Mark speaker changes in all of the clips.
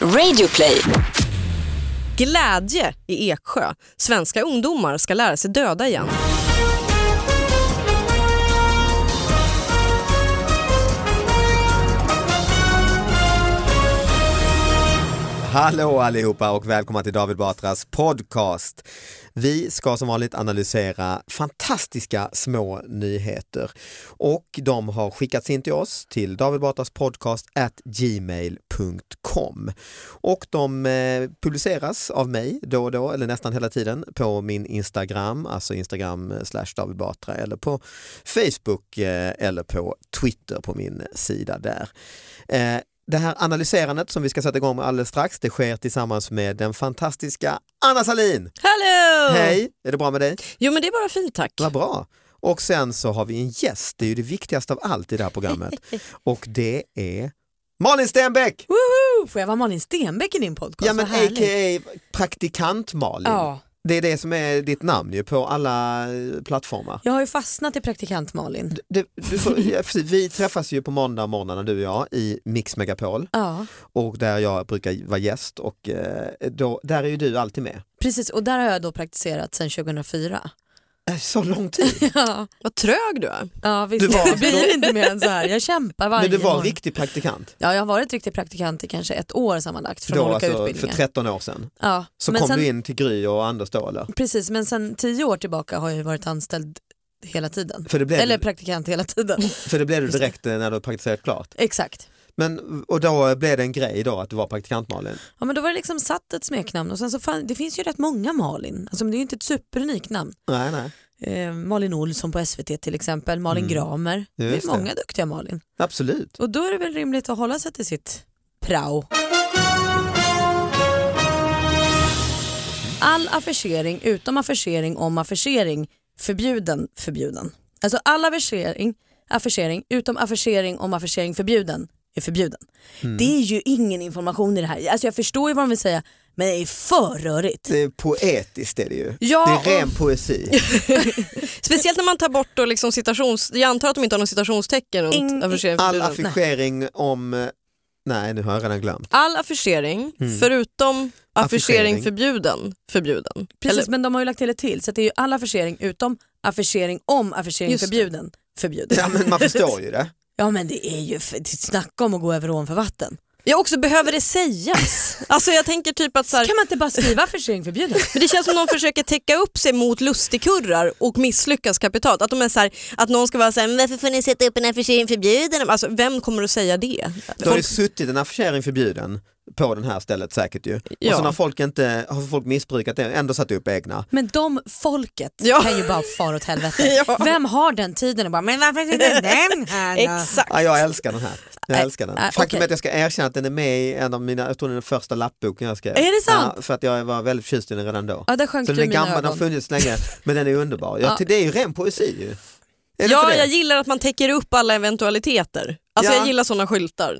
Speaker 1: Radioplay.
Speaker 2: Glädje i Eksjö. Svenska ungdomar ska lära sig döda igen.
Speaker 3: Hallå allihopa och välkomna till David Batras podcast. Vi ska som vanligt analysera fantastiska små nyheter och de har skickats in till oss till David Batras podcast at gmail.com och de eh, publiceras av mig då och då eller nästan hela tiden på min Instagram, alltså Instagram eh, slash David Batra eller på Facebook eh, eller på Twitter på min sida där. Eh, det här analyserandet som vi ska sätta igång med alldeles strax, det sker tillsammans med den fantastiska Anna Salin.
Speaker 2: Hello!
Speaker 3: Hej, är det bra med dig?
Speaker 2: Jo men det är bara fint tack.
Speaker 3: Vad bra. Och sen så har vi en gäst, det är ju det viktigaste av allt i det här programmet. Och det är Malin Stenbeck!
Speaker 4: Woho! Får jag vara Malin Stenbeck i din podcast?
Speaker 3: Ja men
Speaker 4: Vad härligt.
Speaker 3: a.k.a. praktikant-Malin.
Speaker 4: Ja,
Speaker 3: Det är det som är ditt namn ju på alla eh, plattformar.
Speaker 4: jag har ju fastnat i praktikant Malin.
Speaker 3: Du, du får, ja, precis. vi träffas ju på måndag morgnarna du och jag i Mix Megapol
Speaker 4: Ja,
Speaker 3: och där jag brukar vara gäst och eh, då, där är ju du alltid med.
Speaker 4: precis och där har jag då praktiserat sedan 2004.
Speaker 3: Eh, Så lång tid.
Speaker 4: Ja,
Speaker 2: Vad trög du är.
Speaker 4: ja visst.
Speaker 3: Du var-
Speaker 4: det blir inte mer än så här. Jag kämpar varje
Speaker 3: Men du var
Speaker 4: morgon.
Speaker 3: riktig praktikant
Speaker 4: Ja, jag har varit riktig praktikant i kanske ett år sammanlagt från
Speaker 3: då,
Speaker 4: olika
Speaker 3: alltså, för
Speaker 4: utbildningar.
Speaker 3: 13 år sedan.
Speaker 4: ja,
Speaker 3: Så
Speaker 4: men
Speaker 3: kom
Speaker 4: sen,
Speaker 3: du in till Gry och Anders då eller?
Speaker 4: Precis, men sen tio år tillbaka har jag ju varit anställd hela tiden.
Speaker 3: För det blev,
Speaker 4: Eller praktikant hela tiden.
Speaker 3: för det blev du direkt eh, när du praktiserat klart.
Speaker 4: Exakt.
Speaker 3: Men, och då blev det en grej då att du var praktikant Malin.
Speaker 4: Ja, men då var det liksom satt ett smeknamn och sen så fan, det finns ju rätt många Malin. Alltså, men det är ju inte ett superunikt namn.
Speaker 3: Nej, nej.
Speaker 4: Eh, Malin Olsson på SVT till exempel, Malin
Speaker 3: Mm.
Speaker 4: Gramer. Det
Speaker 3: Just
Speaker 4: är
Speaker 3: det.
Speaker 4: många duktiga Malin.
Speaker 3: Absolut.
Speaker 4: Och då är det väl rimligt att hålla sig till sitt prao. All affischering utom affischering om affischering förbjuden förbjuden. Alltså all affischering, affischering utom affischering om affischering förbjuden är förbjuden.
Speaker 2: Mm.
Speaker 4: Det är ju ingen information i det här. Alltså jag förstår ju vad de vill säga men det är för rörigt.
Speaker 3: Det är poetiskt är det ju.
Speaker 4: Ja,
Speaker 3: det är ren
Speaker 4: och-
Speaker 3: poesi.
Speaker 2: Speciellt när man tar bort då liksom citations... Jag antar att de inte har någon citationstecken runt
Speaker 4: Ing-
Speaker 2: affischering
Speaker 3: All
Speaker 2: förbjuden.
Speaker 3: affischering om, eh, nej nu har jag redan glömt.
Speaker 2: All affischering förutom affischering,
Speaker 3: Affischering.
Speaker 2: förbjuden förbjuden.
Speaker 4: Precis,
Speaker 2: Eller,
Speaker 4: men de har ju lagt till ett till så att det är ju all affischering utom affischering om affischering
Speaker 2: Just det.
Speaker 4: förbjuden förbjuden.
Speaker 3: Ja, men man förstår ju det.
Speaker 4: Ja men det är ju, för, det snacka om att gå över ån för vatten.
Speaker 2: jag också behöver det sägas. alltså jag tänker typ att så här,
Speaker 4: Kan man inte bara skriva affischering förbjuden?
Speaker 2: Men det känns som de försöker täcka upp sig mot lustigkurrar och misslyckas kapitalt. Att, de är så här, att någon ska vara såhär, varför får ni sätta upp en affischering förbjuden? Alltså, vem kommer att säga det?
Speaker 3: Då har
Speaker 2: Folk,
Speaker 3: det suttit en affischering förbjuden på den här stället säkert ju. Och
Speaker 2: Ja.
Speaker 3: sen har folk, inte, har folk missbrukat det och ändå satt upp egna.
Speaker 4: Men de folket
Speaker 2: Ja.
Speaker 4: kan ju bara fara åt helvete.
Speaker 2: Ja.
Speaker 4: Vem har den tiden och bara men varför är det den här då?
Speaker 2: exakt.
Speaker 3: Ja, jag älskar den här. Jag
Speaker 4: Äh,
Speaker 3: älskar den.
Speaker 4: äh,
Speaker 3: Faktum
Speaker 4: okej.
Speaker 3: är att jag ska erkänna att den är med i en av mina, jag tror den är den första lappboken jag skrev.
Speaker 4: Är det sant?
Speaker 3: Ja, för att jag var väldigt förtjust i den redan då.
Speaker 4: Ja där sjönk
Speaker 3: Så
Speaker 4: du
Speaker 3: den
Speaker 4: i
Speaker 3: är
Speaker 4: mina
Speaker 3: gammal, den har
Speaker 4: ögon.
Speaker 3: funnits länge, men den är underbar. Ja,
Speaker 4: Ja.
Speaker 3: till Det är ju ren poesi ju. Är det inte
Speaker 2: Ja,
Speaker 3: det?
Speaker 2: jag gillar att man täcker upp alla eventualiteter. Alltså
Speaker 3: Ja.
Speaker 2: jag gillar sådana skyltar.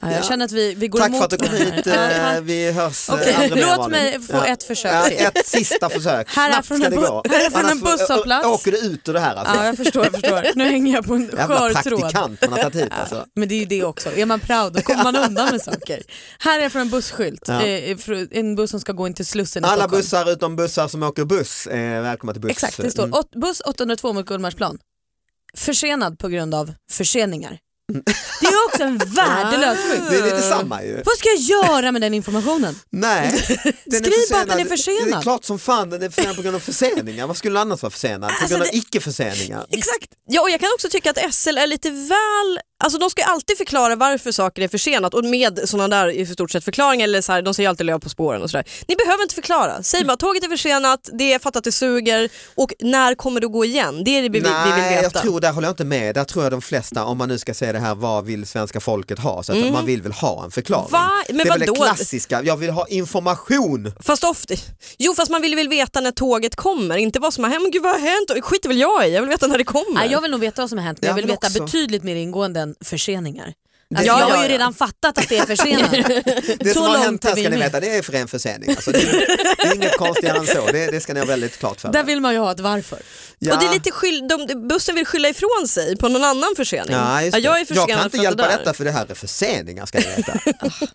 Speaker 4: Ja, jag
Speaker 3: Ja.
Speaker 4: känner att vi, vi går
Speaker 3: Tack
Speaker 4: emot
Speaker 3: för att du kom
Speaker 4: varandra här.
Speaker 3: hit,
Speaker 4: Ja,
Speaker 3: eh,
Speaker 4: tack.
Speaker 3: vi hörs eh,
Speaker 4: Okej,
Speaker 3: aldrig mer,
Speaker 4: Låt
Speaker 3: Malin.
Speaker 4: mig få
Speaker 3: Ja.
Speaker 4: ett försök
Speaker 3: Ja,
Speaker 4: till.
Speaker 3: ett sista försök,
Speaker 4: Här är
Speaker 3: snabbt
Speaker 4: från
Speaker 3: ska
Speaker 4: en
Speaker 3: det
Speaker 4: bu-
Speaker 3: gå.
Speaker 4: här är från en
Speaker 3: Annars får-
Speaker 4: busshållplats.
Speaker 3: åker du ut ur det här. Alltså.
Speaker 4: Ja jag förstår, jag förstår. Nu hänger jag på en
Speaker 3: Jävla
Speaker 4: skör tråd.
Speaker 3: praktikant man har tagit hit alltså.
Speaker 4: Men det är ju det också, är man proud då kommer man undan med saker. Här är från en busskylt,
Speaker 3: Ja.
Speaker 4: eh, fr- en buss som ska gå in till Slussen i
Speaker 3: Alla
Speaker 4: Stockholm.
Speaker 3: bussar utom bussar som åker buss, eh, välkomna till buss.
Speaker 4: Exakt, det står
Speaker 3: Mm.
Speaker 4: åt, buss 802 mot Gullmarsplan. Försenad på grund av förseningar. Det är ju också en värdelös skylt.
Speaker 3: Mm. Ah, Det är lite samma ju.
Speaker 4: Vad ska jag göra med den informationen?
Speaker 3: Nej. Den
Speaker 4: Skriv bara att den är
Speaker 3: Det är
Speaker 4: försenad.
Speaker 3: klart som fan den är försenad på grund av förseningar. Vad skulle den annars vara försenad? På
Speaker 2: Alltså,
Speaker 3: grund av
Speaker 2: det-
Speaker 3: icke-förseningar.
Speaker 2: Exakt. Ja, och jag kan också tycka att SL är lite väl... Alltså de ska ju alltid förklara varför saker är försenat och med sådana där i stort sett förklaringar. Eller så här, de säger alltid löv på spåren och sådär. Ni behöver inte förklara. Säg bara tåget är försenat, det är fattat det suger och när kommer det gå igen? Det är det vi, vi- vi vill
Speaker 3: Nej, jag
Speaker 2: veta.
Speaker 3: tror, där håller jag inte med. Där tror jag de flesta, om man nu ska säga det här, vad vill svenska folket ha? Så att
Speaker 4: Mm.
Speaker 3: man vill väl ha en förklaring.
Speaker 2: Va? Men
Speaker 3: det är väl det
Speaker 2: vadå?
Speaker 3: klassiska, jag vill ha information.
Speaker 2: Fast ofta, jo fast man vill väl veta när tåget kommer, inte vad som har hänt. Men gud vad har hänt? Skiter väl jag i, jag vill veta när det kommer.
Speaker 4: Nej, jag vill nog veta vad som har hänt men
Speaker 3: Ja,
Speaker 4: jag vill
Speaker 3: men
Speaker 4: veta
Speaker 3: också-
Speaker 4: betydligt mer ingående än förseningar. Alltså,
Speaker 2: Ja,
Speaker 4: jag
Speaker 2: ja,
Speaker 4: har ju
Speaker 2: ja.
Speaker 4: redan fattat att det är försenat.
Speaker 3: Det
Speaker 4: Så
Speaker 3: som har
Speaker 4: långt
Speaker 3: hänt
Speaker 4: är
Speaker 3: här
Speaker 4: vi
Speaker 3: ska ni
Speaker 4: med.
Speaker 3: veta, det är för en försening. Alltså, det, är- det är inget konstigare än så, det, det ska ni ha väldigt klart för
Speaker 4: Där
Speaker 3: er.
Speaker 4: vill man ju ha ett varför.
Speaker 3: Ja.
Speaker 2: Och det är lite skyll, de, bussen vill skylla ifrån sig på någon annan försening.
Speaker 3: Ja, just det.
Speaker 2: jag är
Speaker 3: jag
Speaker 2: försenad
Speaker 3: kan inte
Speaker 2: för att
Speaker 3: hjälpa
Speaker 2: det där.
Speaker 3: detta för det här är förseningar ska ni veta. Ah.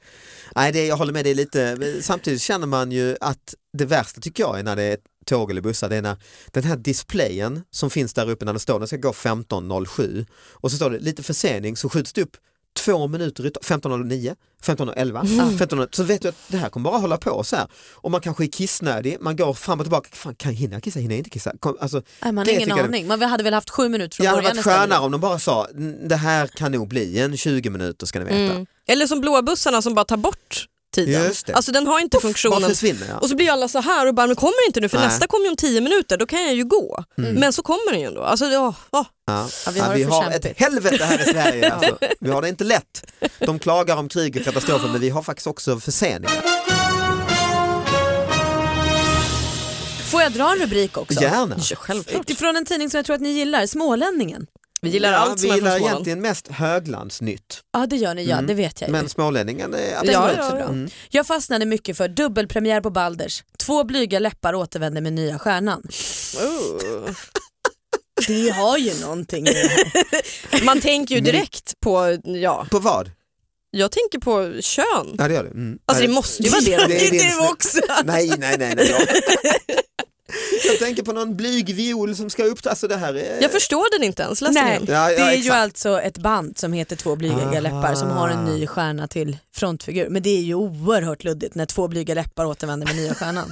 Speaker 3: Nej, det, jag håller med dig lite. Men Samtidigt känner man ju att det värsta tycker jag är när det är tåg eller bussar, det är när den här displayen som finns där uppe när det står den ska gå 15.07 och så står det lite försening så skjuts det upp två minuter ut, 15.09,
Speaker 2: Mm.
Speaker 3: 15.11, 15 Ah, så vet du att det här kommer bara hålla på så här. Och man kanske är kissnödig, man går fram och tillbaka, fan kan jag hinna kissa, hinner jag inte kissa? Kom, alltså,
Speaker 4: Nej, man
Speaker 3: det
Speaker 4: har ingen
Speaker 3: tycker jag-
Speaker 4: aning. Man hade väl haft sju minuter från
Speaker 3: jag hade
Speaker 4: början
Speaker 3: varit
Speaker 4: istället.
Speaker 3: skönare om de bara sa, "Mm, det här kan nog bli en 20 minuter ska ni veta.
Speaker 2: Eller som blåbussarna som bara tar bort tiden.
Speaker 3: Just det.
Speaker 2: Alltså den har inte
Speaker 3: Bara
Speaker 2: funktionen.
Speaker 3: försvinner jag.
Speaker 2: Och så blir alla så här och bara, men kommer inte nu för
Speaker 3: Nej. Mm.
Speaker 2: nästa kommer ju om tio minuter, då kan jag ju gå. Men så kommer den ju ändå. Alltså, ja, ja.
Speaker 3: Ja.
Speaker 4: Ja, vi
Speaker 3: Ja,
Speaker 4: har det
Speaker 3: vi
Speaker 4: för
Speaker 3: har
Speaker 4: kämpigt.
Speaker 3: ett helvete här i Sverige. Alltså. Vi har det inte lätt. De klagar om krig och katastrofer men vi har faktiskt också förseningar.
Speaker 4: Får jag dra en rubrik också?
Speaker 3: Gärna.
Speaker 2: Ja, självklart.
Speaker 4: Det är Från en tidning som jag tror att ni gillar, Smålänningen.
Speaker 2: Vi gillar
Speaker 3: ja,
Speaker 2: allt
Speaker 3: vi
Speaker 2: som är från
Speaker 3: gillar
Speaker 2: Småland.
Speaker 3: egentligen mest höglandsnytt.
Speaker 4: Ja det gör ni, ja det vet jag ju.
Speaker 3: Men smålänningen är
Speaker 4: Den
Speaker 3: absolut
Speaker 4: var
Speaker 2: Ja,
Speaker 4: också
Speaker 2: ja,
Speaker 4: bra.
Speaker 2: ja.
Speaker 3: Mm.
Speaker 4: Jag fastnade mycket för dubbelpremiär på Balders. Två blyga läppar återvänder med nya stjärnan.
Speaker 2: Oh.
Speaker 4: Det har ju någonting i det här.
Speaker 2: Man tänker
Speaker 3: Mm.
Speaker 2: ju direkt på, ja,
Speaker 3: På vad?
Speaker 2: jag tänker på kön.
Speaker 3: Ja det gör du. Mm.
Speaker 2: Alltså
Speaker 3: Ja,
Speaker 2: det måste ju vara det.
Speaker 3: Det är din snu-
Speaker 2: också.
Speaker 3: Nej, nej, nej. nej jag... jag tänker på någon blyg viol som ska upp. Alltså det här är...
Speaker 2: Jag förstår den inte ens, läs den
Speaker 4: Nej,
Speaker 2: igen.
Speaker 4: det
Speaker 3: Ja, ja,
Speaker 4: är ju
Speaker 3: exakt.
Speaker 4: alltså ett band som heter Två blyga
Speaker 3: Ah.
Speaker 4: läppar som har en ny stjärna till frontfigur. Men det är ju oerhört luddigt när två blyga läppar återvänder med nya stjärnan.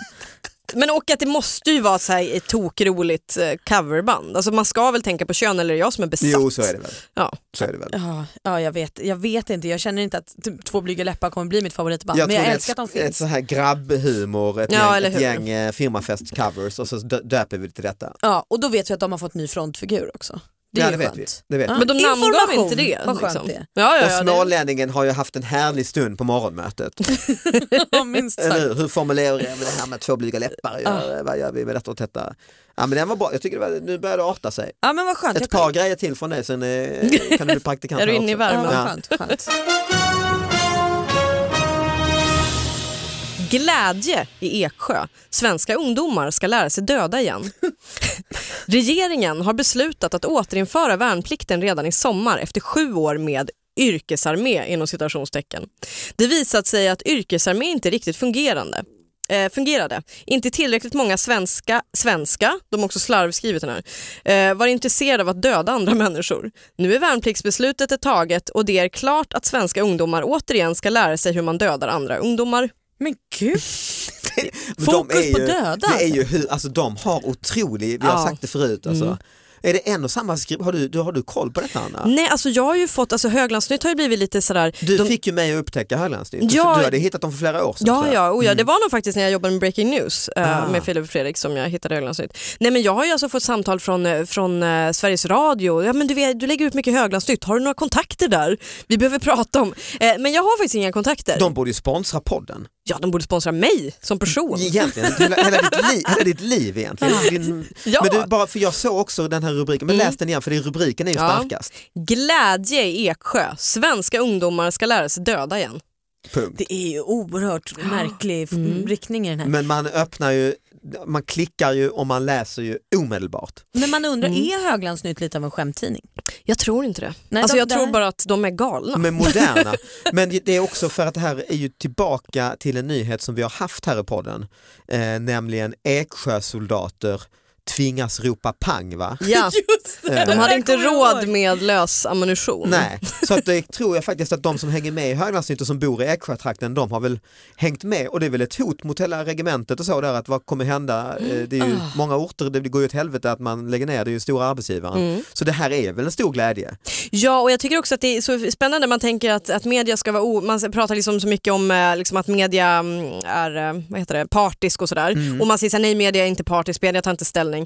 Speaker 2: Men och att det måste ju vara så här ett tokroligt eh, coverband. Alltså man ska väl tänka på kön eller är det jag som är besatt?
Speaker 3: Jo, så är det väl.
Speaker 2: Ja.
Speaker 3: Så är det väl.
Speaker 4: Ja, ja jag, vet, jag vet inte, jag känner inte att typ Två blyga läppar kommer bli mitt favoritband. men jag
Speaker 3: det är
Speaker 4: älskar att de
Speaker 3: ett, ett
Speaker 4: finns.
Speaker 3: så här grabbhumor, ett
Speaker 2: Ja,
Speaker 3: gäng,
Speaker 2: eller
Speaker 3: ett
Speaker 2: hur?
Speaker 3: gäng eh, firmafest-covers och så dö- döper vi det till detta.
Speaker 4: Ja, och då vet vi att de har fått ny frontfigur också. Det är
Speaker 3: ja,
Speaker 4: ju
Speaker 3: det vet
Speaker 4: skönt.
Speaker 3: vi. Det vet vi.
Speaker 2: Men de
Speaker 4: Information.
Speaker 2: namngav inte det.
Speaker 4: Vad skönt
Speaker 2: liksom.
Speaker 4: det är.
Speaker 2: Ja, ja,
Speaker 3: Och
Speaker 2: ja, det-
Speaker 3: smålänningen har ju haft en härlig stund på morgonmötet.
Speaker 4: Ja, minst sagt.
Speaker 3: Eller hur? Hur formulerar jag det här med två blyga
Speaker 4: Ah.
Speaker 3: läppar? Gör, eh, Vad gör vi med detta och detta? Ja, men den var bra. Jag tycker det var, nu börjar det arta sig.
Speaker 4: Ja men vad skönt.
Speaker 3: Ett
Speaker 4: Jag-
Speaker 3: par grejer till från dig sen eh, kan du bli praktikant
Speaker 2: Är du
Speaker 3: här
Speaker 2: inne i
Speaker 3: också.
Speaker 4: Ja,
Speaker 2: Värmland?
Speaker 4: vad
Speaker 3: Ja.
Speaker 4: skönt, skönt.
Speaker 2: Glädje i Eksjö. Svenska ungdomar ska lära sig döda igen. Regeringen har beslutat att återinföra värnplikten redan i sommar efter sju år med yrkesarmé inom citationstecken. Det visat sig att yrkesarmé inte riktigt fungerande. Eh, fungerade. Inte tillräckligt många svenska, svenska, de har också slarvskrivit den här, eh, var intresserade av att döda andra människor. Nu är värnpliktsbeslutet ett taget och det är klart att svenska ungdomar återigen ska lära sig hur man dödar andra ungdomar.
Speaker 4: Men gud.
Speaker 3: Men
Speaker 4: Fokus
Speaker 3: de är ju,
Speaker 4: på döda,
Speaker 3: Det är ju hur, alltså, de har otrolig, vi har
Speaker 2: Ja.
Speaker 3: sagt det förut alltså.
Speaker 4: Mm.
Speaker 3: Är det en och samma skriv? Har du, du, har du koll på detta Anna?
Speaker 2: Nej, alltså jag har ju fått, alltså Höglandsnytt har ju blivit lite sådär...
Speaker 3: Du
Speaker 2: de-
Speaker 3: fick ju mig att upptäcka Höglandsnytt.
Speaker 2: Ja.
Speaker 3: Du hade hittat dem för flera år sedan. tror
Speaker 2: Ja,
Speaker 3: jag. Mm.
Speaker 2: ja, oh, ja, det var nog faktiskt när jag jobbade med Breaking News eh,
Speaker 3: Ah.
Speaker 2: med Filip och Fredrik som jag hittade Höglandsnytt. Nej men jag har ju alltså fått samtal från, eh, från eh, Sveriges Radio, ja men du, vet, du lägger ut mycket Höglandsnytt, har du några kontakter där? Vi behöver prata om, eh, men jag har faktiskt inga kontakter.
Speaker 3: De borde ju sponsra podden.
Speaker 2: Ja, de borde sponsra mig som person.
Speaker 3: Egentligen, hela, hela, ditt liv, hela ditt liv egentligen. Din,
Speaker 2: Ja. Mm.
Speaker 3: men du, bara, för jag såg också den här rubriken, men läs den igen för det- rubriken är ju
Speaker 2: Ja.
Speaker 3: starkast.
Speaker 2: Glädje i Eksjö, svenska ungdomar ska lära sig döda igen.
Speaker 3: Punkt.
Speaker 4: Det är ju oerhört märklig f- riktning i den här.
Speaker 3: Men man öppnar ju, man klickar ju och man läser ju omedelbart.
Speaker 4: Men Mm. man undrar, är Höglandsnytt lite av en skämttidning?
Speaker 2: Jag tror inte det.
Speaker 4: Nej,
Speaker 2: alltså
Speaker 4: de-
Speaker 2: jag
Speaker 4: det
Speaker 2: tror
Speaker 4: här-
Speaker 2: bara att de är galna.
Speaker 3: Men moderna. Men det är också för att det här är ju tillbaka till en nyhet som vi har haft här i podden, eh, nämligen Eksjösoldater tvingas ropa pang va?
Speaker 2: Ja,
Speaker 3: det.
Speaker 2: de hade
Speaker 4: Jag
Speaker 2: inte
Speaker 4: kommer
Speaker 2: råd
Speaker 4: ihåg.
Speaker 2: med lös ammunition.
Speaker 3: Nej, så att det tror jag faktiskt att de som hänger med i Höglandsnytt och som bor i Eksjötrakten, de har väl hängt med och det är väl ett hot mot hela regementet och så där att vad kommer hända? Eh, Det är ju
Speaker 2: Ah.
Speaker 3: många orter, det går ju åt helvete att man lägger ner, det är ju stora arbetsgivaren.
Speaker 2: Mm.
Speaker 3: Så det här är väl en stor glädje.
Speaker 2: Ja, och jag tycker också att det är så spännande. Man tänker att, att media ska vara... O, man pratar liksom så mycket om eh, liksom att media mm, är eh, vad heter det, partisk och sådär.
Speaker 3: Mm.
Speaker 2: Och man säger så här, nej media är inte partisk, media tar inte ställning.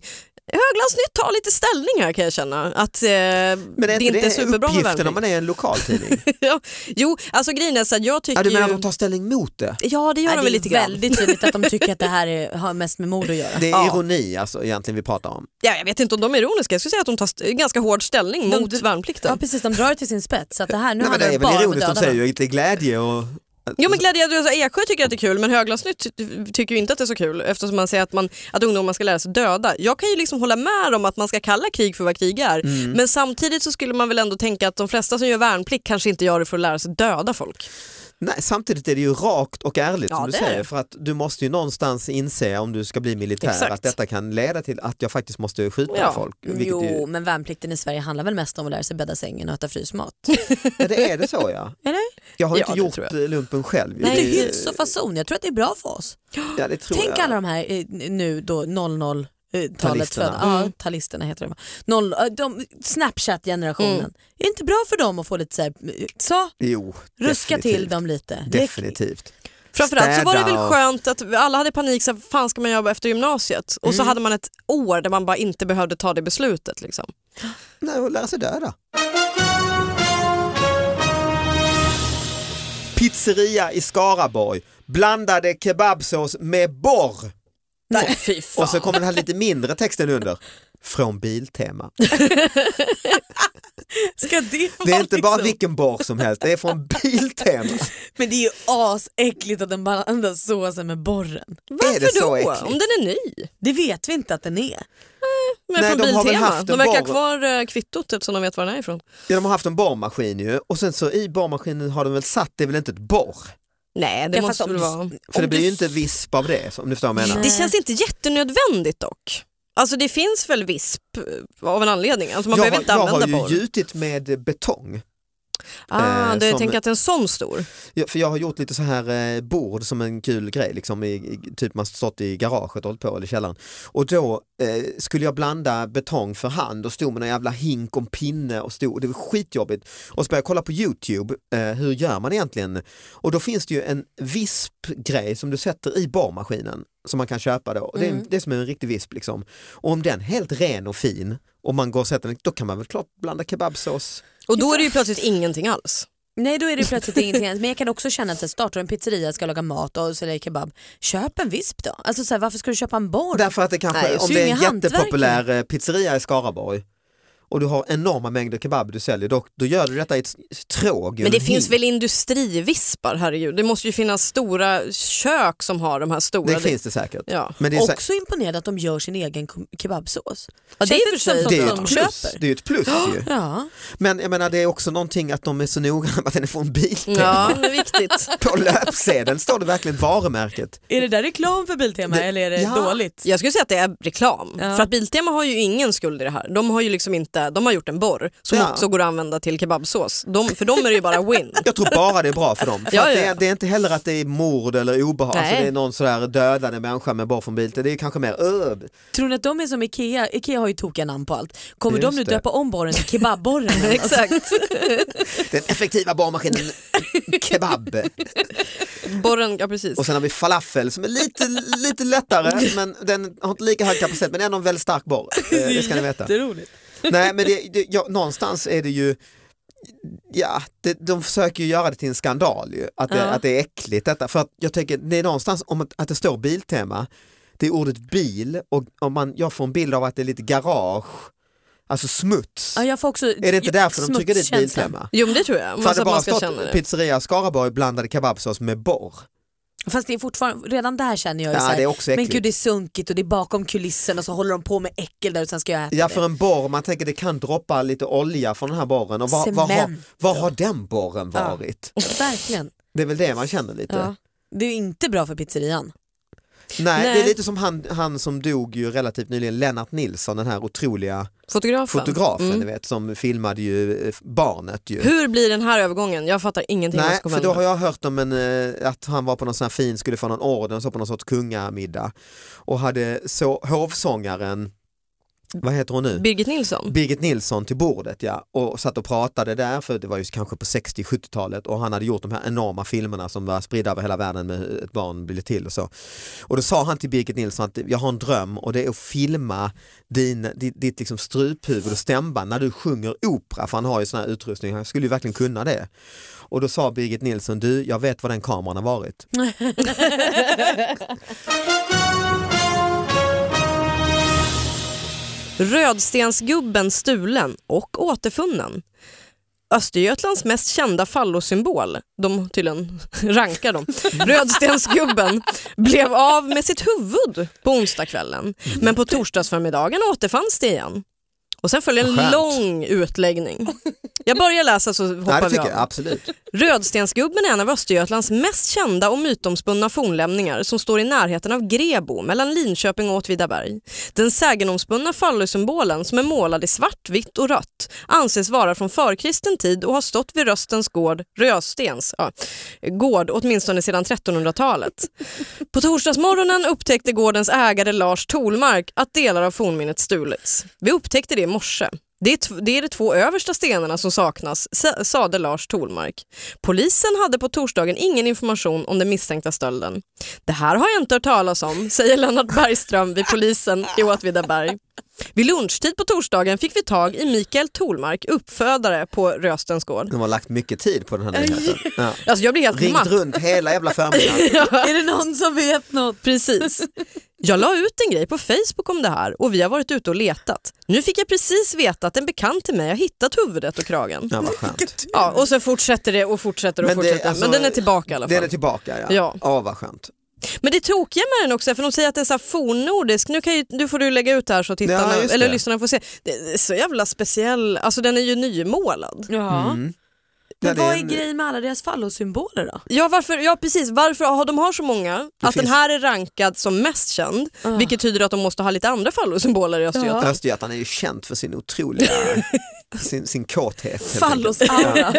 Speaker 2: Höglandsnytt tar lite ställning här kan jag känna. Att eh,
Speaker 3: Men
Speaker 2: det
Speaker 3: är
Speaker 2: inte är superbra med
Speaker 3: uppgiften
Speaker 2: värnplikt.
Speaker 3: om man är en lokaltidning?
Speaker 2: ja. Jo, alltså grejen är så att jag
Speaker 3: ja,
Speaker 2: tycker
Speaker 3: du menar att
Speaker 2: ju...
Speaker 3: de tar ställning mot det?
Speaker 2: Ja, det gör de
Speaker 4: Ja, det
Speaker 2: väl
Speaker 4: är
Speaker 2: lite grann.
Speaker 4: väldigt tydligt att de tycker att det här är, har mest med mord att göra.
Speaker 3: Det är
Speaker 2: Ja.
Speaker 3: ironi alltså egentligen vi pratar om.
Speaker 2: Ja, jag vet inte om de är ironiska, jag skulle säga att de tar st- ganska hård ställning
Speaker 4: De-
Speaker 2: mot
Speaker 4: Ja
Speaker 2: värnplikten.
Speaker 4: precis, de drar det till sin spets. Så att det här, nu
Speaker 3: Nej, men
Speaker 4: handlar
Speaker 3: det
Speaker 4: det
Speaker 3: är väl
Speaker 4: bara om att
Speaker 3: ironiskt,
Speaker 4: döda
Speaker 3: de säger
Speaker 4: dem.
Speaker 3: ju lite glädje och...
Speaker 2: Jo men glädje, Eksjö tycker att det är kul men Höglandsnytt ty- tycker ju inte att det är så kul eftersom man säger att, man, att ungdomar ska lära sig döda. Jag kan ju liksom hålla med om att man ska kalla krig för vad krig är
Speaker 3: Mm.
Speaker 2: men samtidigt så skulle man väl ändå tänka att de flesta som gör värnplikt kanske inte gör det för att lära sig döda folk.
Speaker 3: Nej, samtidigt är det ju rakt och ärligt
Speaker 2: Ja,
Speaker 3: som du
Speaker 2: det är
Speaker 3: säger
Speaker 2: det.
Speaker 3: för att du måste ju någonstans inse om du ska bli militär
Speaker 2: Exakt.
Speaker 3: att detta kan leda till att jag faktiskt måste skjuta
Speaker 2: Ja.
Speaker 3: folk. vilket
Speaker 4: Jo,
Speaker 3: ju-
Speaker 4: men värnplikten i Sverige handlar väl mest om att lära sig bädda sängen och äta frysmat?
Speaker 3: Ja, det är det så ja.
Speaker 4: Eller?
Speaker 3: Jag har ju
Speaker 2: Ja,
Speaker 3: inte
Speaker 2: det
Speaker 3: gjort
Speaker 2: tror
Speaker 3: lumpen själv.
Speaker 4: Nej,
Speaker 3: Det-
Speaker 4: hyfs och fason. Jag tror att det är bra för oss.
Speaker 3: ja, det tror
Speaker 4: Tänk
Speaker 3: jag.
Speaker 4: alla de här eh, nu då 00 eh, talet
Speaker 3: Talisterna.
Speaker 4: födda. Ja, talisterna heter de. va? Noll, eh, de Snapchat-generationen. Är det inte bra för dem att få lite så, här, eh, så
Speaker 3: Jo,
Speaker 4: ruska
Speaker 3: definitivt.
Speaker 4: till dem lite?
Speaker 3: Definitivt.
Speaker 2: Framförallt så var det väl
Speaker 3: Städa och-
Speaker 2: skönt att alla hade panik, så här, fan ska man jobba efter gymnasiet? Och
Speaker 3: Mm.
Speaker 2: så hade man ett år där man bara inte behövde ta det beslutet. Liksom.
Speaker 3: Nej, och lära sig döda. Pizzeria i Skaraborg, blandade kebabsås med borr.
Speaker 4: Nej, fy fan.
Speaker 3: Och så kommer den här lite mindre texten under. Från Biltema.
Speaker 4: Ska det
Speaker 3: Det är
Speaker 4: vara
Speaker 3: inte bara
Speaker 4: liksom-
Speaker 3: vilken borr som helst, det är från Biltema.
Speaker 4: Men det är ju asäckligt att den blandar såsen med borren.
Speaker 3: Är det
Speaker 2: Varför
Speaker 3: så
Speaker 2: då?
Speaker 3: äckligt?
Speaker 2: Om den är ny?
Speaker 4: Det vet vi inte att den är.
Speaker 2: Men
Speaker 3: Nej,
Speaker 2: från
Speaker 3: de har väl
Speaker 2: Biltema.
Speaker 3: haft en
Speaker 2: De verkar
Speaker 3: borr.
Speaker 2: ha kvar eh, kvittot eftersom de vet var den är ifrån.
Speaker 3: Ja, de har haft en borrmaskin ju och sen så i borrmaskinen har de väl satt, det är väl inte ett borr?
Speaker 2: Nej, det
Speaker 4: Ja, fast
Speaker 2: måste
Speaker 4: om
Speaker 2: väl
Speaker 4: du-
Speaker 2: vara.
Speaker 3: För det
Speaker 4: Om
Speaker 3: blir
Speaker 4: du
Speaker 3: ju inte visp av det om du förstår vad jag menar.
Speaker 2: Det känns inte jättenödvändigt dock. Alltså det finns väl visp eh, av en anledning. Alltså man
Speaker 3: jag,
Speaker 2: behöver
Speaker 3: har-
Speaker 2: inte
Speaker 3: jag har
Speaker 2: använda
Speaker 3: ju
Speaker 2: borr.
Speaker 3: gjutit med betong.
Speaker 2: ah,
Speaker 3: eh,
Speaker 2: du
Speaker 3: som-
Speaker 2: tänker att det är en sån stor?
Speaker 3: Ja, för jag har gjort lite så här eh, bord som en kul grej, liksom i, i, typ man stått i garaget och hållit på eller källaren. Och då eh, skulle jag blanda betong för hand och stod med en jävla hink och en pinne och stod, det var skitjobbigt. Och så började jag kolla på YouTube, eh, hur gör man egentligen? Och då finns det ju en vispgrej som du sätter i borrmaskinen som man kan köpa då. Och Det, är, det är som en riktig visp liksom. Och om den är helt ren och fin och man går och sätter den, då kan man väl klart blanda kebabsås.
Speaker 2: Och då är det ju plötsligt ingenting alls.
Speaker 4: Nej då är det plötsligt ingenting annat. Men jag kan också känna att så här, startar du en pizzeria, ska laga mat och sälja kebab, köp en visp då. Alltså så här, varför ska du köpa en borr?
Speaker 3: Därför att det kanske,
Speaker 4: Nej,
Speaker 3: om
Speaker 4: så
Speaker 3: det är en
Speaker 4: inga hantverkare.
Speaker 3: jättepopulär eh, pizzeria i Skaraborg och du har enorma mängder kebab du säljer, då, då gör du detta i ett s- tråg. i
Speaker 2: Men det
Speaker 3: en
Speaker 2: finns
Speaker 3: hink.
Speaker 2: väl industrivispar, herregud. Det måste ju finnas stora kök som har de här stora.
Speaker 3: Det finns det säkert.
Speaker 2: Ja.
Speaker 3: Men det är, så-
Speaker 4: Också imponerad att de gör sin egen kom- kebabsås.
Speaker 2: Ja, det är
Speaker 4: Känns
Speaker 2: i och för
Speaker 4: inte
Speaker 2: sig-
Speaker 4: som sånt
Speaker 3: det är ju
Speaker 4: de
Speaker 3: ett plus.
Speaker 4: köper.
Speaker 3: Det är ju ett plus ju.
Speaker 4: Ja.
Speaker 3: Men jag menar det är också någonting att de är så noga med att den är från Biltema.
Speaker 2: Ja, det är viktigt.
Speaker 3: På löpsedeln står det verkligen varumärket.
Speaker 4: Är det där reklam för Biltema
Speaker 3: Det-
Speaker 4: eller är det
Speaker 3: Ja.
Speaker 4: dåligt?
Speaker 2: Jag skulle säga att det är reklam.
Speaker 4: Ja.
Speaker 2: För att Biltema har ju ingen skuld i det här. De har ju liksom inte, de har gjort en borr som
Speaker 3: Ja.
Speaker 2: också går att använda till kebabsås. De, för dem är det ju bara win.
Speaker 3: Jag tror bara det är bra för dem. För
Speaker 2: Ja,
Speaker 3: att det,
Speaker 2: ja.
Speaker 3: är, det är inte heller att det är mord eller obehag,
Speaker 2: Nej.
Speaker 3: alltså det är någon sådär dödade människa med bara från Biltema. Det är kanske mer öb.
Speaker 4: Tror ni att de är som Ikea? Ikea har ju tokiga namn på allt. Kommer
Speaker 3: Just
Speaker 4: de nu
Speaker 3: det.
Speaker 4: döpa om borren till kebabborren? eller något?
Speaker 2: Exakt.
Speaker 3: Den effektiva borrmaskinen kebab.
Speaker 2: Borren, ja precis.
Speaker 3: Och sen har vi falafel som är lite, lite lättare men den har inte lika hög kapacitet men ändå en väldigt stark borr. Eh, Det ska ni veta.
Speaker 4: Jätteroligt.
Speaker 3: Nej men det, det, ja, någonstans är det ju Ja, det, de försöker ju göra det till en skandal ju, att det,
Speaker 4: Ja.
Speaker 3: att det är äckligt detta. För att jag tänker, det är någonstans om att, att det står Biltema, det är ordet bil och om man, jag får en bild av att det är lite garage, alltså smuts.
Speaker 4: Ja, jag får också
Speaker 3: är det inte därför de trycker dit
Speaker 4: smutskänslan.
Speaker 3: Biltema?
Speaker 2: Jo men det tror jag.
Speaker 3: För
Speaker 2: Man,
Speaker 3: hade
Speaker 2: så att
Speaker 3: det
Speaker 2: man
Speaker 3: bara
Speaker 2: ska känna
Speaker 3: stått
Speaker 2: det.
Speaker 3: pizzeria Skaraborg blandade kebabsås med borr,
Speaker 4: Fast det är fortfarande, redan där känner jag ju
Speaker 3: Ja,
Speaker 4: så här,
Speaker 3: det är också
Speaker 4: men
Speaker 3: äckligt.
Speaker 4: gud det är sunkigt och det är bakom kulissen och så håller de på med äckel där och sen ska jag äta
Speaker 3: Ja
Speaker 4: det.
Speaker 3: för en borr, man tänker det kan droppa lite olja från den här borren och var, var, har,
Speaker 4: Cement.
Speaker 3: var har den borren
Speaker 4: Ja.
Speaker 3: varit?
Speaker 4: Verkligen.
Speaker 3: Det är väl det man känner lite.
Speaker 4: Ja. Det är ju inte bra för pizzerian.
Speaker 3: Nej,
Speaker 2: Nej.
Speaker 3: det är lite som han, han som dog ju relativt nyligen, Lennart Nilsson, den här otroliga
Speaker 4: Mm.
Speaker 2: Fotografen.
Speaker 3: fotografen
Speaker 2: Mm.
Speaker 3: ni vet, som filmade ju eh, barnet. Ju.
Speaker 2: Hur blir den här övergången? Jag fattar ingenting. vad
Speaker 3: Nej,
Speaker 2: som kommer
Speaker 3: för då
Speaker 2: hända.
Speaker 3: har jag hört om en, eh, att han var på någon sån här fin, skulle få någon orden, så på någon sorts kungamiddag och hade så hovsångaren, vad heter hon nu?
Speaker 2: Birgit Nilsson?
Speaker 3: Birgit Nilsson till bordet ja, och satt och pratade där för det var ju kanske på 60-70-talet och han hade gjort de här enorma filmerna som var spridda över hela världen med hur ett barn blir till och så. Och då sa han till Birgit Nilsson att jag har en dröm och det är att filma din, ditt, ditt liksom struphuvud och stämband när du sjunger opera för han har ju sån här utrustning, han skulle ju verkligen kunna det. Och då sa Birgit Nilsson, du jag vet var den kameran har varit.
Speaker 2: Rödstensgubben stulen och återfunnen. Östergötlands mest kända fallosymbol, de tydligen rankar dem, Rödstensgubben, blev av med sitt huvud på onsdagskvällen. Men på torsdagsförmiddagen återfanns det igen. Och sen följer en
Speaker 3: Skönt.
Speaker 2: lång utläggning. Jag börjar läsa så hoppar
Speaker 3: Nej, det
Speaker 2: vi
Speaker 3: tycker
Speaker 2: av.
Speaker 3: jag absolut.
Speaker 2: Rödstensgubben är en av Östergötlands mest kända och mytomspunna fornlämningar som står i närheten av Grebo mellan Linköping och Åtvidaberg. Den sägenomspunna fallusymbolen som är målad i svart, vitt och rött anses vara från förkristen tid och har stått vid Röstens gård, Röstens ja, gård åtminstone sedan 1300-talet. På torsdagsmorgonen upptäckte gårdens ägare Lars Tolmark att delar av fornminnet stulits. Vi upptäckte det i morse. Det är, tv- det är de två översta stenarna som saknas, sa- sade Lars Tolmark. Polisen hade på torsdagen ingen information om den misstänkta stölden. Det här har jag inte hört talas om, säger Lennart Bergström vid polisen i Åtvidaberg. Vid lunchtid på torsdagen fick vi tag i Mikael Tolmark, uppfödare på Röstens gård.
Speaker 3: De har lagt mycket tid på den här nyheten. Ja.
Speaker 2: Alltså jag blir helt
Speaker 3: Ringt
Speaker 2: matt.
Speaker 3: runt hela jävla förmiddagen.
Speaker 4: Är det någon som vet något?
Speaker 2: Precis. Jag la ut en grej på Facebook om det här och vi har varit ute och letat. Nu fick jag precis veta att en bekant till mig har hittat huvudet och kragen.
Speaker 3: Ja, vad skönt.
Speaker 2: Ja, och så fortsätter det och fortsätter och
Speaker 3: Men det-
Speaker 2: fortsätter.
Speaker 3: alltså,
Speaker 2: Men den är tillbaka i alla fall.
Speaker 3: Den är tillbaka ja.
Speaker 2: Ja.
Speaker 3: Åh, vad skönt.
Speaker 2: Men det tokiga med den också, är för de säger att den är så här fornnordisk. Nu, kan ju, nu får du lägga ut det här så tittarna,
Speaker 3: Ja, just
Speaker 2: eller
Speaker 3: det.
Speaker 2: lyssnarna får se. Det är så jävla speciell, alltså den är ju nymålad.
Speaker 4: Ja.
Speaker 3: Mm. Ja,
Speaker 4: Men
Speaker 3: det
Speaker 4: vad är
Speaker 3: en-
Speaker 4: grejen med alla deras fallosymboler då?
Speaker 2: Ja, varför, ja precis, varför har de har så många? att den
Speaker 3: finns- Ah.
Speaker 2: här är rankad som mest känd, vilket tyder att de måste ha lite andra fallosymboler i Östergötland.
Speaker 3: Östergötland är ju känt för sin otroliga sin, sin kåthet. helt enkelt.
Speaker 4: Fallosaura.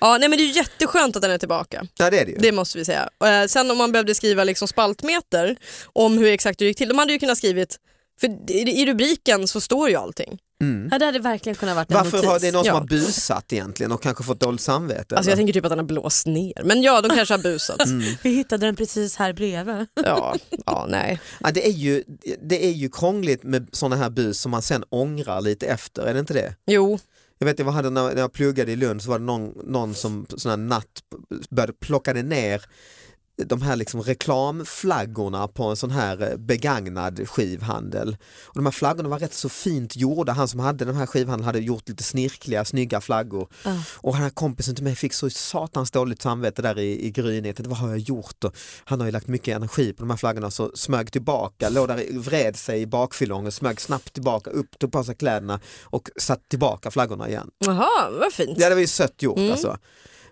Speaker 2: Ja, nej, men det är ju jätteskönt att den är tillbaka.
Speaker 3: Ja det är det ju.
Speaker 2: Det måste vi säga. Eh, sen om man behövde skriva liksom spaltmeter om hur exakt det gick till, de hade ju kunnat skrivit för i i rubriken så står ju allting.
Speaker 4: ja, det hade verkligen kunnat varit en
Speaker 3: Varför
Speaker 4: notis.
Speaker 3: har det är någon som
Speaker 2: Ja.
Speaker 3: har busat egentligen och kanske fått dåligt samvete?
Speaker 2: Alltså jag
Speaker 3: eller?
Speaker 2: tänker typ att den har blåst ner. Men ja, de kanske har busat.
Speaker 3: Mm.
Speaker 4: Vi hittade den precis här bredvid.
Speaker 2: Ja, ja, nej.
Speaker 3: ja, det, är ju, det är ju krångligt med sådana här bus som man sen ångrar lite efter, är det inte det?
Speaker 2: Jo,
Speaker 3: Jag vet jag hade när när jag pluggade i Lund så var det någon, någon som sån här natt började plockade ner de här liksom reklamflaggorna på en sån här eh, begagnad skivhandel. Och de här flaggorna var rätt så fint gjorda, han som hade den här skivhandeln hade gjort lite snirkliga, snygga flaggor. Och den här kompisen till mig fick så satans dåligt samvete där i, i grynet, vad har jag gjort? Och han har ju lagt mycket energi på de här flaggorna så smög tillbaka, låg där, i- vred sig i bakfyllongen, smög snabbt tillbaka, upp, tog på sig kläderna och satte tillbaka flaggorna igen.
Speaker 2: jaha, vad fint.
Speaker 3: Ja det var ju sött gjort
Speaker 4: Mm.
Speaker 3: alltså.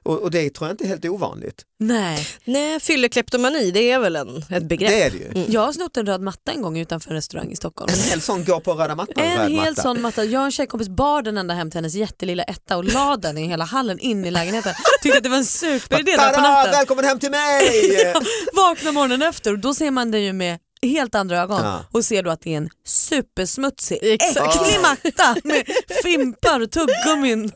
Speaker 3: Och, och det tror jag inte är helt ovanligt.
Speaker 4: Nej.
Speaker 2: Nej, fyllekleptomani det är väl en, ett begrepp.
Speaker 3: Det är det ju.
Speaker 4: Jag har snott en röd matta en gång utanför en restaurang i Stockholm.
Speaker 3: En hel sån går på röda mattan.
Speaker 4: En
Speaker 3: röd
Speaker 4: hel
Speaker 3: matta.
Speaker 4: sån matta. Jag och en tjejkompis bar den ända hem till hennes jättelilla etta och la den i hela hallen in i lägenheten. Tyckte att det var en superidé där på
Speaker 3: Tada,
Speaker 4: natten.
Speaker 3: välkommen hem till mig!
Speaker 4: Vakna morgonen efter och då ser man den ju med helt andra ögon
Speaker 3: Ja.
Speaker 4: och ser då att det är en supersmutsig,
Speaker 2: Exakt.
Speaker 4: äcklig matta med fimpar och tuggummin.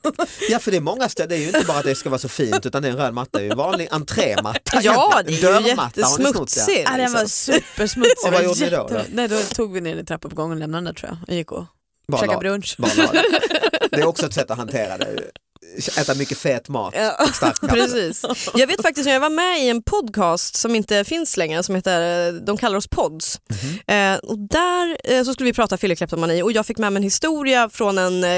Speaker 3: ja för det är många ställen, det är ju inte bara att det ska vara så fint utan det är en röd matta, det är ju en vanlig entrématta.
Speaker 2: Ja, det är ju
Speaker 3: Dörrmatta har ni snott, ja.
Speaker 2: jättesmutsig.
Speaker 4: Ja, den var
Speaker 2: liksom.
Speaker 4: supersmutsig.
Speaker 3: Och vad gjorde ni då,
Speaker 4: Jätte-
Speaker 3: då?
Speaker 4: Nej, då tog vi ner den i trappuppgången och lämnade den där tror jag. Jag gick och
Speaker 3: Bara
Speaker 4: käkade
Speaker 3: la-
Speaker 4: brunch.
Speaker 3: bara la det. Det är också ett sätt att hantera det. Äta mycket fet mat, stark kaffe.
Speaker 2: Precis. Jag vet faktiskt när jag var med i en podcast som inte finns längre som heter, eh, de kallar oss pods.
Speaker 4: Mhm.
Speaker 2: Eh, och där eh, så skulle vi prata fyllekleptomani och jag fick med mig en historia från en, eh,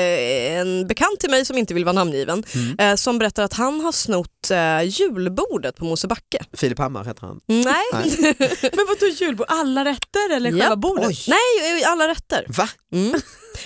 Speaker 2: en bekant till mig som inte vill vara namngiven
Speaker 4: Mm.
Speaker 2: eh, som berättar att han har snott eh, julbordet på Mosebacke.
Speaker 3: Filip Hammar heter han.
Speaker 2: Nej.
Speaker 3: Nej.
Speaker 4: Men vadå julbord? Alla rätter eller
Speaker 2: Japp.
Speaker 4: själva bordet?
Speaker 3: Oj.
Speaker 2: Nej, alla rätter.
Speaker 3: Va?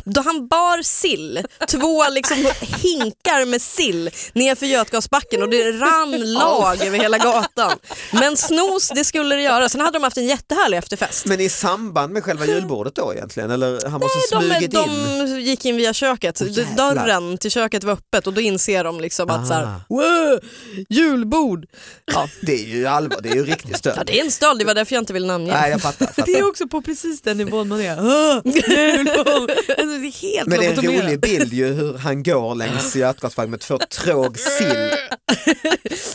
Speaker 2: Då han bar sill, två liksom hinkar med sill nerför Götgasbacken och det rann lag över hela gatan. Men snos, det skulle det göra. Sen hade de haft en jättehärlig efterfest.
Speaker 3: Men i samband med
Speaker 4: Mm.
Speaker 3: själva julbordet då egentligen? Eller han måste
Speaker 2: De,
Speaker 3: smugit in?
Speaker 2: de gick in via köket,
Speaker 3: Åh, jävlar.
Speaker 2: dörren till köket var öppet och då inser de liksom att så här,
Speaker 3: Ah.
Speaker 2: wow, julbord. Ja.
Speaker 3: Det är ju allvar, det är ju riktigt stöld.
Speaker 2: ja, det är en stöld, det var därför jag inte ville namnge.
Speaker 3: Nej jag fattar.
Speaker 4: Det är
Speaker 3: fattar.
Speaker 4: också på precis den nivån man är. "Åh,
Speaker 2: Mm.
Speaker 4: julbord." Alltså, det är helt
Speaker 3: Men det är en
Speaker 4: lobotomerat.
Speaker 3: rolig bild ju hur han går längs Götgatsvägen med två tråg sill.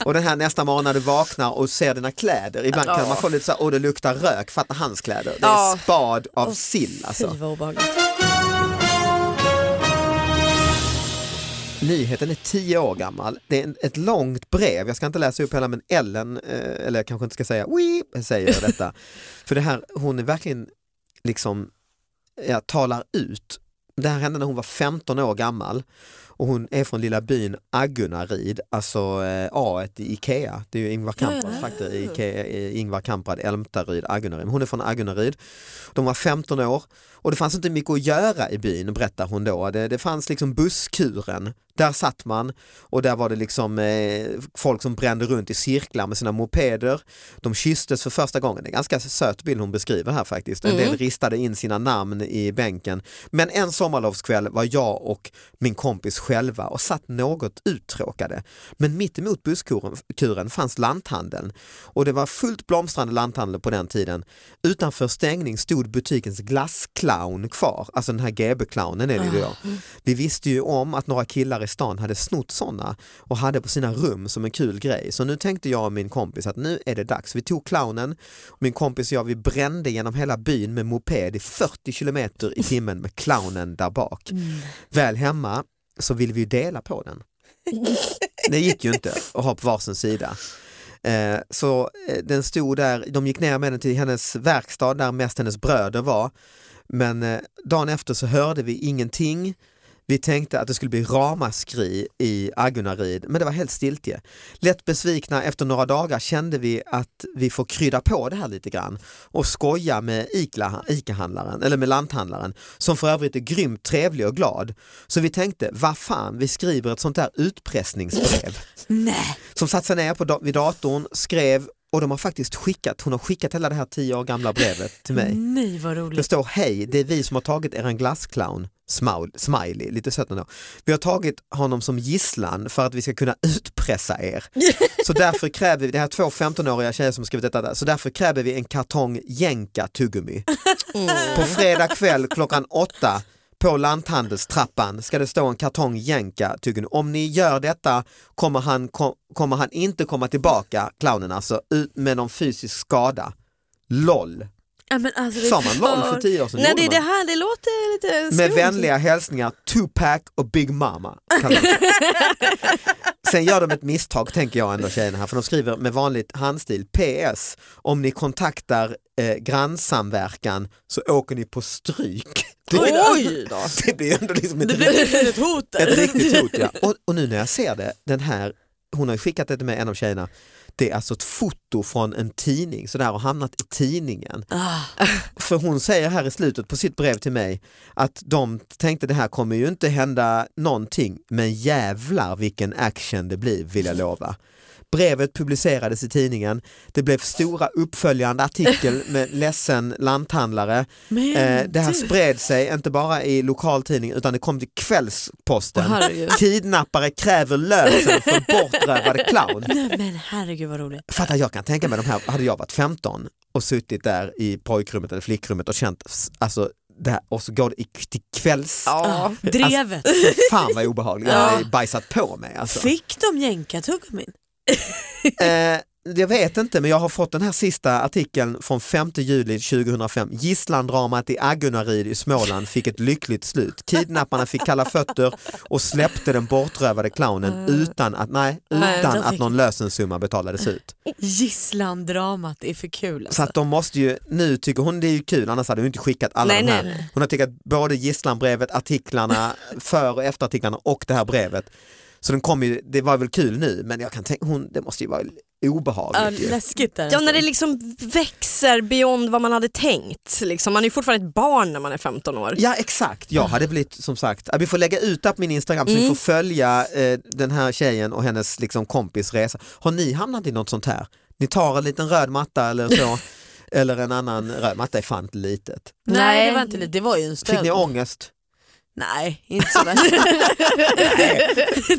Speaker 3: Och den här nästa morgon när du vaknar och ser dina kläder, ibland kan man få lite så här, åh det luktar rök, fatta hans kläder. Det är
Speaker 2: Ja.
Speaker 3: spad av sill alltså.
Speaker 4: Fy vad obehagligt.
Speaker 3: Nyheten är tio år gammal. Det är en- ett långt brev, jag ska inte läsa upp hela men Ellen, eh, eller jag kanske inte ska säga weep, säger detta. För det här, hon är verkligen liksom, ja, talar ut. Det här hände när hon var 15 år gammal och hon är från lilla byn Aggunarid, alltså eh, A i Ikea. Det är ju Ingvar
Speaker 4: Ja, ja,
Speaker 3: Kamprad
Speaker 4: ja.
Speaker 3: faktor i Ikea, eh, Ingvar Kamprad, Älmtaryd, Aggunarid. Hon är från Aggunarid. De var 15 år och det fanns inte mycket att göra i byn berättar hon då. Det, det fanns liksom busskuren, där satt man och där var det liksom eh, folk som brände runt i cirklar med sina mopeder. De kysstes för första gången, det är en ganska söt bild hon beskriver här faktiskt. En del ristade in sina namn i bänken. Men en sommarlovskväll var jag och min kompis själva och satt något uttråkade. Men mitt emot busskuren kuren fanns lanthandeln och det var fullt blomstrande lanthandel på den tiden. Utanför stängning stod butikens glassclown kvar, alltså den här GB-clownen är det ju då. Vi visste ju om att några killar i stan hade snott sådana och hade på sina rum som en kul grej. Så nu tänkte jag och min kompis att nu är det dags. Vi tog clownen, min kompis och jag vi brände genom hela byn med moped i 40 kilometer i timmen med clownen där bak.
Speaker 4: Mm.
Speaker 3: Väl hemma så ville vi ju dela på den. Det gick ju inte att ha på varsin sida. Eh, Så eh, den stod där, de gick ner med den till hennes verkstad där mest hennes bröder var. Men eh, dagen efter så hörde vi ingenting. Vi tänkte att det skulle bli ramaskri i Aggunarid, men det var helt stiltje. Lätt besvikna efter några dagar kände vi att vi får krydda på det här lite grann och skoja med Ikla- ICA-handlaren, eller med lanthandlaren, som för övrigt är grymt trevlig och glad. Så vi tänkte, vad fan, vi skriver ett sånt där utpressningsbrev
Speaker 4: Nej.
Speaker 3: som satt sig ner på da- vid datorn, skrev och de har faktiskt skickat, hon har skickat hela det här tio år gamla brevet till mig.
Speaker 4: Nej vad
Speaker 3: Det
Speaker 4: roligt.
Speaker 3: står hej, det är vi som har tagit er en glassclown, Smaul- smiley, lite sött ändå. Vi har tagit honom som gisslan för att vi ska kunna utpressa er. Så därför kräver vi, det här är två 15-åriga tjejer som har skrivit detta, där. så därför kräver vi en kartong jänka tuggummi. På fredag kväll klockan åtta på lanthandelstrappan ska det stå en kartong jänka tuggummi. Om ni gör detta kommer han, kom, kommer han inte komma tillbaka, clownen alltså, ut med någon fysisk skada. LOL.
Speaker 4: Ja, men alltså, det
Speaker 3: Sa man LOL för tio år sedan?
Speaker 2: Nej,
Speaker 3: Gjorde
Speaker 2: det, är
Speaker 3: man?
Speaker 2: det, här, det låter lite
Speaker 3: Med
Speaker 2: skumt.
Speaker 3: vänliga hälsningar Tupac och Big Mama. kan man säga. Sen gör de ett misstag tänker jag ändå tjejerna här för de skriver med vanligt handstil PS om ni kontaktar eh, grannsamverkan så åker ni på stryk. Det,
Speaker 2: Oj då!
Speaker 3: det blir ändå liksom ett,
Speaker 4: Det blev ett litet hot. där.
Speaker 3: ett riktigt hot. Ja. Och, och nu när jag ser det, den här, hon har ju skickat det till mig, en av tjejerna, det är alltså ett foto från en tidning, så det här har hamnat i tidningen.
Speaker 4: Ah.
Speaker 3: Eh, För hon säger här i slutet på sitt brev till mig att de tänkte det här kommer ju inte hända någonting men jävlar vilken action det blir vill jag lova. Brevet publicerades i tidningen, det blev stora uppföljande artikel med ledsen lanthandlare.
Speaker 4: Men
Speaker 3: Eh, det här
Speaker 4: du.
Speaker 3: spred sig inte bara i lokaltidning utan det kom till kvällsposten.
Speaker 2: Åh, herregud.
Speaker 3: Kidnappare kräver lösen för bortrövade clown.
Speaker 4: Nej, men herregud vad roligt.
Speaker 3: Fattar jag kan tänka mig de här, hade jag varit 15 och suttit där i pojkrummet eller flickrummet och känt, alltså det här, och så går det i, till kvälls,
Speaker 2: Ja.
Speaker 4: Ah,
Speaker 3: alltså-
Speaker 4: Drevet.
Speaker 3: fan vad obehagligt, jag hade bajsat på mig alltså.
Speaker 4: Fick de jänkartuggummin?
Speaker 3: Eh, jag vet inte men jag har fått den här sista artikeln från 5 juli 2005. Gisslandramat i Aggunarid i Småland fick ett lyckligt slut. Kidnapparna fick kalla fötter och släppte den bortrövade clownen utan att, nej,
Speaker 2: Mm. Nej,
Speaker 3: utan
Speaker 4: de
Speaker 3: att
Speaker 4: fick-
Speaker 3: någon lösensumma betalades ut.
Speaker 4: Gisslandramat är för kul. alltså.
Speaker 3: Så att de måste ju, nu tycker hon det är ju kul annars hade hon inte skickat alla
Speaker 2: Nej,
Speaker 3: de här.
Speaker 2: nej, nej.
Speaker 3: Hon har skickat både gisslanbrevet, artiklarna, för och efterartiklarna och det här brevet. Så den kom ju, det var väl kul nu men jag kan tänka, hon, det måste ju vara
Speaker 4: Ja,
Speaker 3: obehagligt. ju.
Speaker 4: läskigt där.
Speaker 2: Ja, när det liksom växer beyond vad man hade tänkt. Liksom. Man är ju fortfarande ett barn när man är 15 år.
Speaker 3: Ja exakt, jag hade blivit som sagt, vi får lägga ut det här på min Instagram så ni får
Speaker 2: Mm.
Speaker 3: följa eh, den här tjejen och hennes liksom, kompis resa. Har ni hamnat i något sånt här? Ni tar en liten röd matta eller så, eller en annan röd matta är fan inte litet.
Speaker 4: Nej,
Speaker 2: Nej.
Speaker 4: det var inte lite. Det var ju en
Speaker 3: Fick
Speaker 4: stöld.
Speaker 3: ni ångest?
Speaker 4: Nej, inte så värst.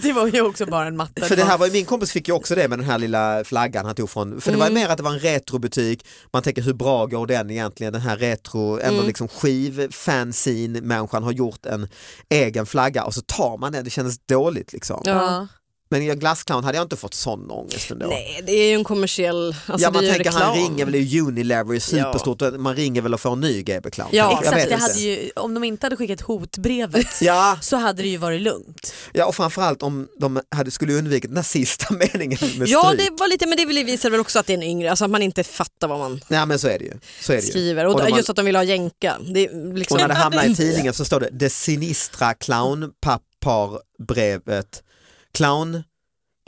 Speaker 4: det var ju också bara en matta.
Speaker 3: För det här var ju, min kompis fick ju också det med den här lilla flaggan han tog från, för det
Speaker 2: Mm.
Speaker 3: var ju mer att det var en retrobutik, man tänker hur bra går den egentligen, den här retro,
Speaker 2: Mm.
Speaker 3: ändå liksom skivfanzine-människan har gjort en egen flagga och så tar man den, det kändes dåligt liksom.
Speaker 2: Ja.
Speaker 4: Ja.
Speaker 3: Men i glassclown hade jag inte fått sån ångest ändå.
Speaker 2: Nej, det är ju en kommersiell... Alltså
Speaker 3: ja man
Speaker 2: det är ju
Speaker 3: tänker
Speaker 2: reklam.
Speaker 3: han ringer väl i Unilever, är superstort, man ringer väl och får en ny GB-clown.
Speaker 2: Ja,
Speaker 3: jag vet
Speaker 4: Exakt, det
Speaker 3: inte.
Speaker 4: hade ju, om de inte hade skickat hotbrevet
Speaker 3: Ja,
Speaker 4: så hade det ju varit lugnt.
Speaker 3: ja, och framförallt om de hade skulle undvikit den här sista meningen med
Speaker 2: Ja,
Speaker 3: stryk.
Speaker 2: det var lite, men det vill- visar väl också att det är en yngre, alltså att man inte fattar vad man
Speaker 3: Nej men så är det ju. Så är det ju.
Speaker 2: skriver. Och,
Speaker 3: de har-
Speaker 2: just att de vill ha jänka. Det är
Speaker 3: Och
Speaker 2: liksom...
Speaker 3: när det hamnar i tidningen så står det det sinistra clownpappar aparbrevet, clown,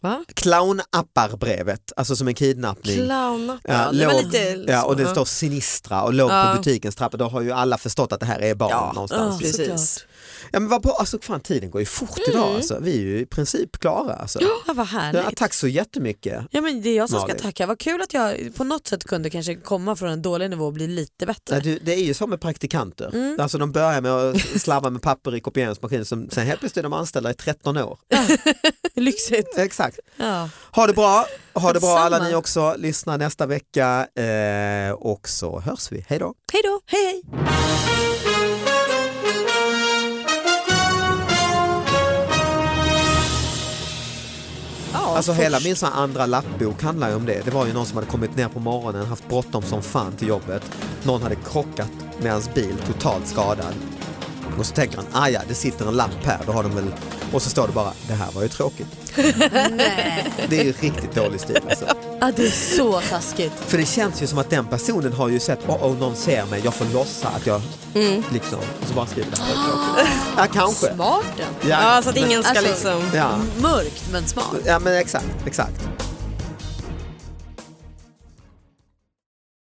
Speaker 2: Va?
Speaker 3: clownapparbrevet, alltså som en kidnappning.
Speaker 2: Clownappen.
Speaker 3: Ja,
Speaker 2: det var
Speaker 3: låg-
Speaker 2: lite...
Speaker 3: Ja, och det
Speaker 2: Ja.
Speaker 3: står Sinistra och låg
Speaker 2: Ja.
Speaker 3: på butikens trappa. Då har ju alla förstått att det här är barn
Speaker 2: Ja,
Speaker 3: någonstans.
Speaker 2: ja, precis. Mm.
Speaker 4: Såklart.
Speaker 3: Ja, men vad bra, alltså fan tiden går ju fort idag alltså. Vi är ju i princip klara alltså.
Speaker 4: Ja, vad
Speaker 3: Ja,
Speaker 4: härligt.
Speaker 3: tack så jättemycket.
Speaker 4: Ja, men det är jag som ska
Speaker 3: Malin.
Speaker 4: tacka. Vad kul att jag på något sätt kunde kanske komma från en dålig nivå och bli lite bättre.
Speaker 3: Nej, du, det är ju som med praktikanter.
Speaker 2: Mm.
Speaker 3: Alltså de börjar med att slarva med papper i kopieringsmaskinen, som- sen helt plötsligt är de anställda i 13 år.
Speaker 4: Lyxigt.
Speaker 3: Exakt.
Speaker 4: Ja.
Speaker 3: Ha det bra, ha det bra alla
Speaker 4: Detsamma.
Speaker 3: ni också. Lyssna nästa vecka eh, och så hörs vi. Hej då.
Speaker 2: Hej då!
Speaker 4: Hej hej.
Speaker 2: Ja,
Speaker 3: Alltså hela min sån här andra lappbok handlar ju om det. Det var ju någon som hade kommit ner på morgonen, haft bråttom som fan till jobbet. Någon hade krockat med hans bil, totalt skadad. Och så tänker han, ah ja, det sitter en lapp här, då har de väl... Och så står det bara, det här var ju tråkigt.
Speaker 4: Nej.
Speaker 3: Det är ju riktigt dålig stil alltså.
Speaker 4: Ja, det är så taskigt.
Speaker 3: För det känns ju som att den personen har ju sett, oh, oh någon ser mig, jag får låtsa att jag liksom, och så bara skriver det här var ju tråkigt. Ja, kanske.
Speaker 4: Smarten.
Speaker 2: Ja, så att ingen ska
Speaker 4: Alltså-
Speaker 2: liksom...
Speaker 3: Ja,
Speaker 4: Mörkt men smart.
Speaker 3: ja men exakt, exakt.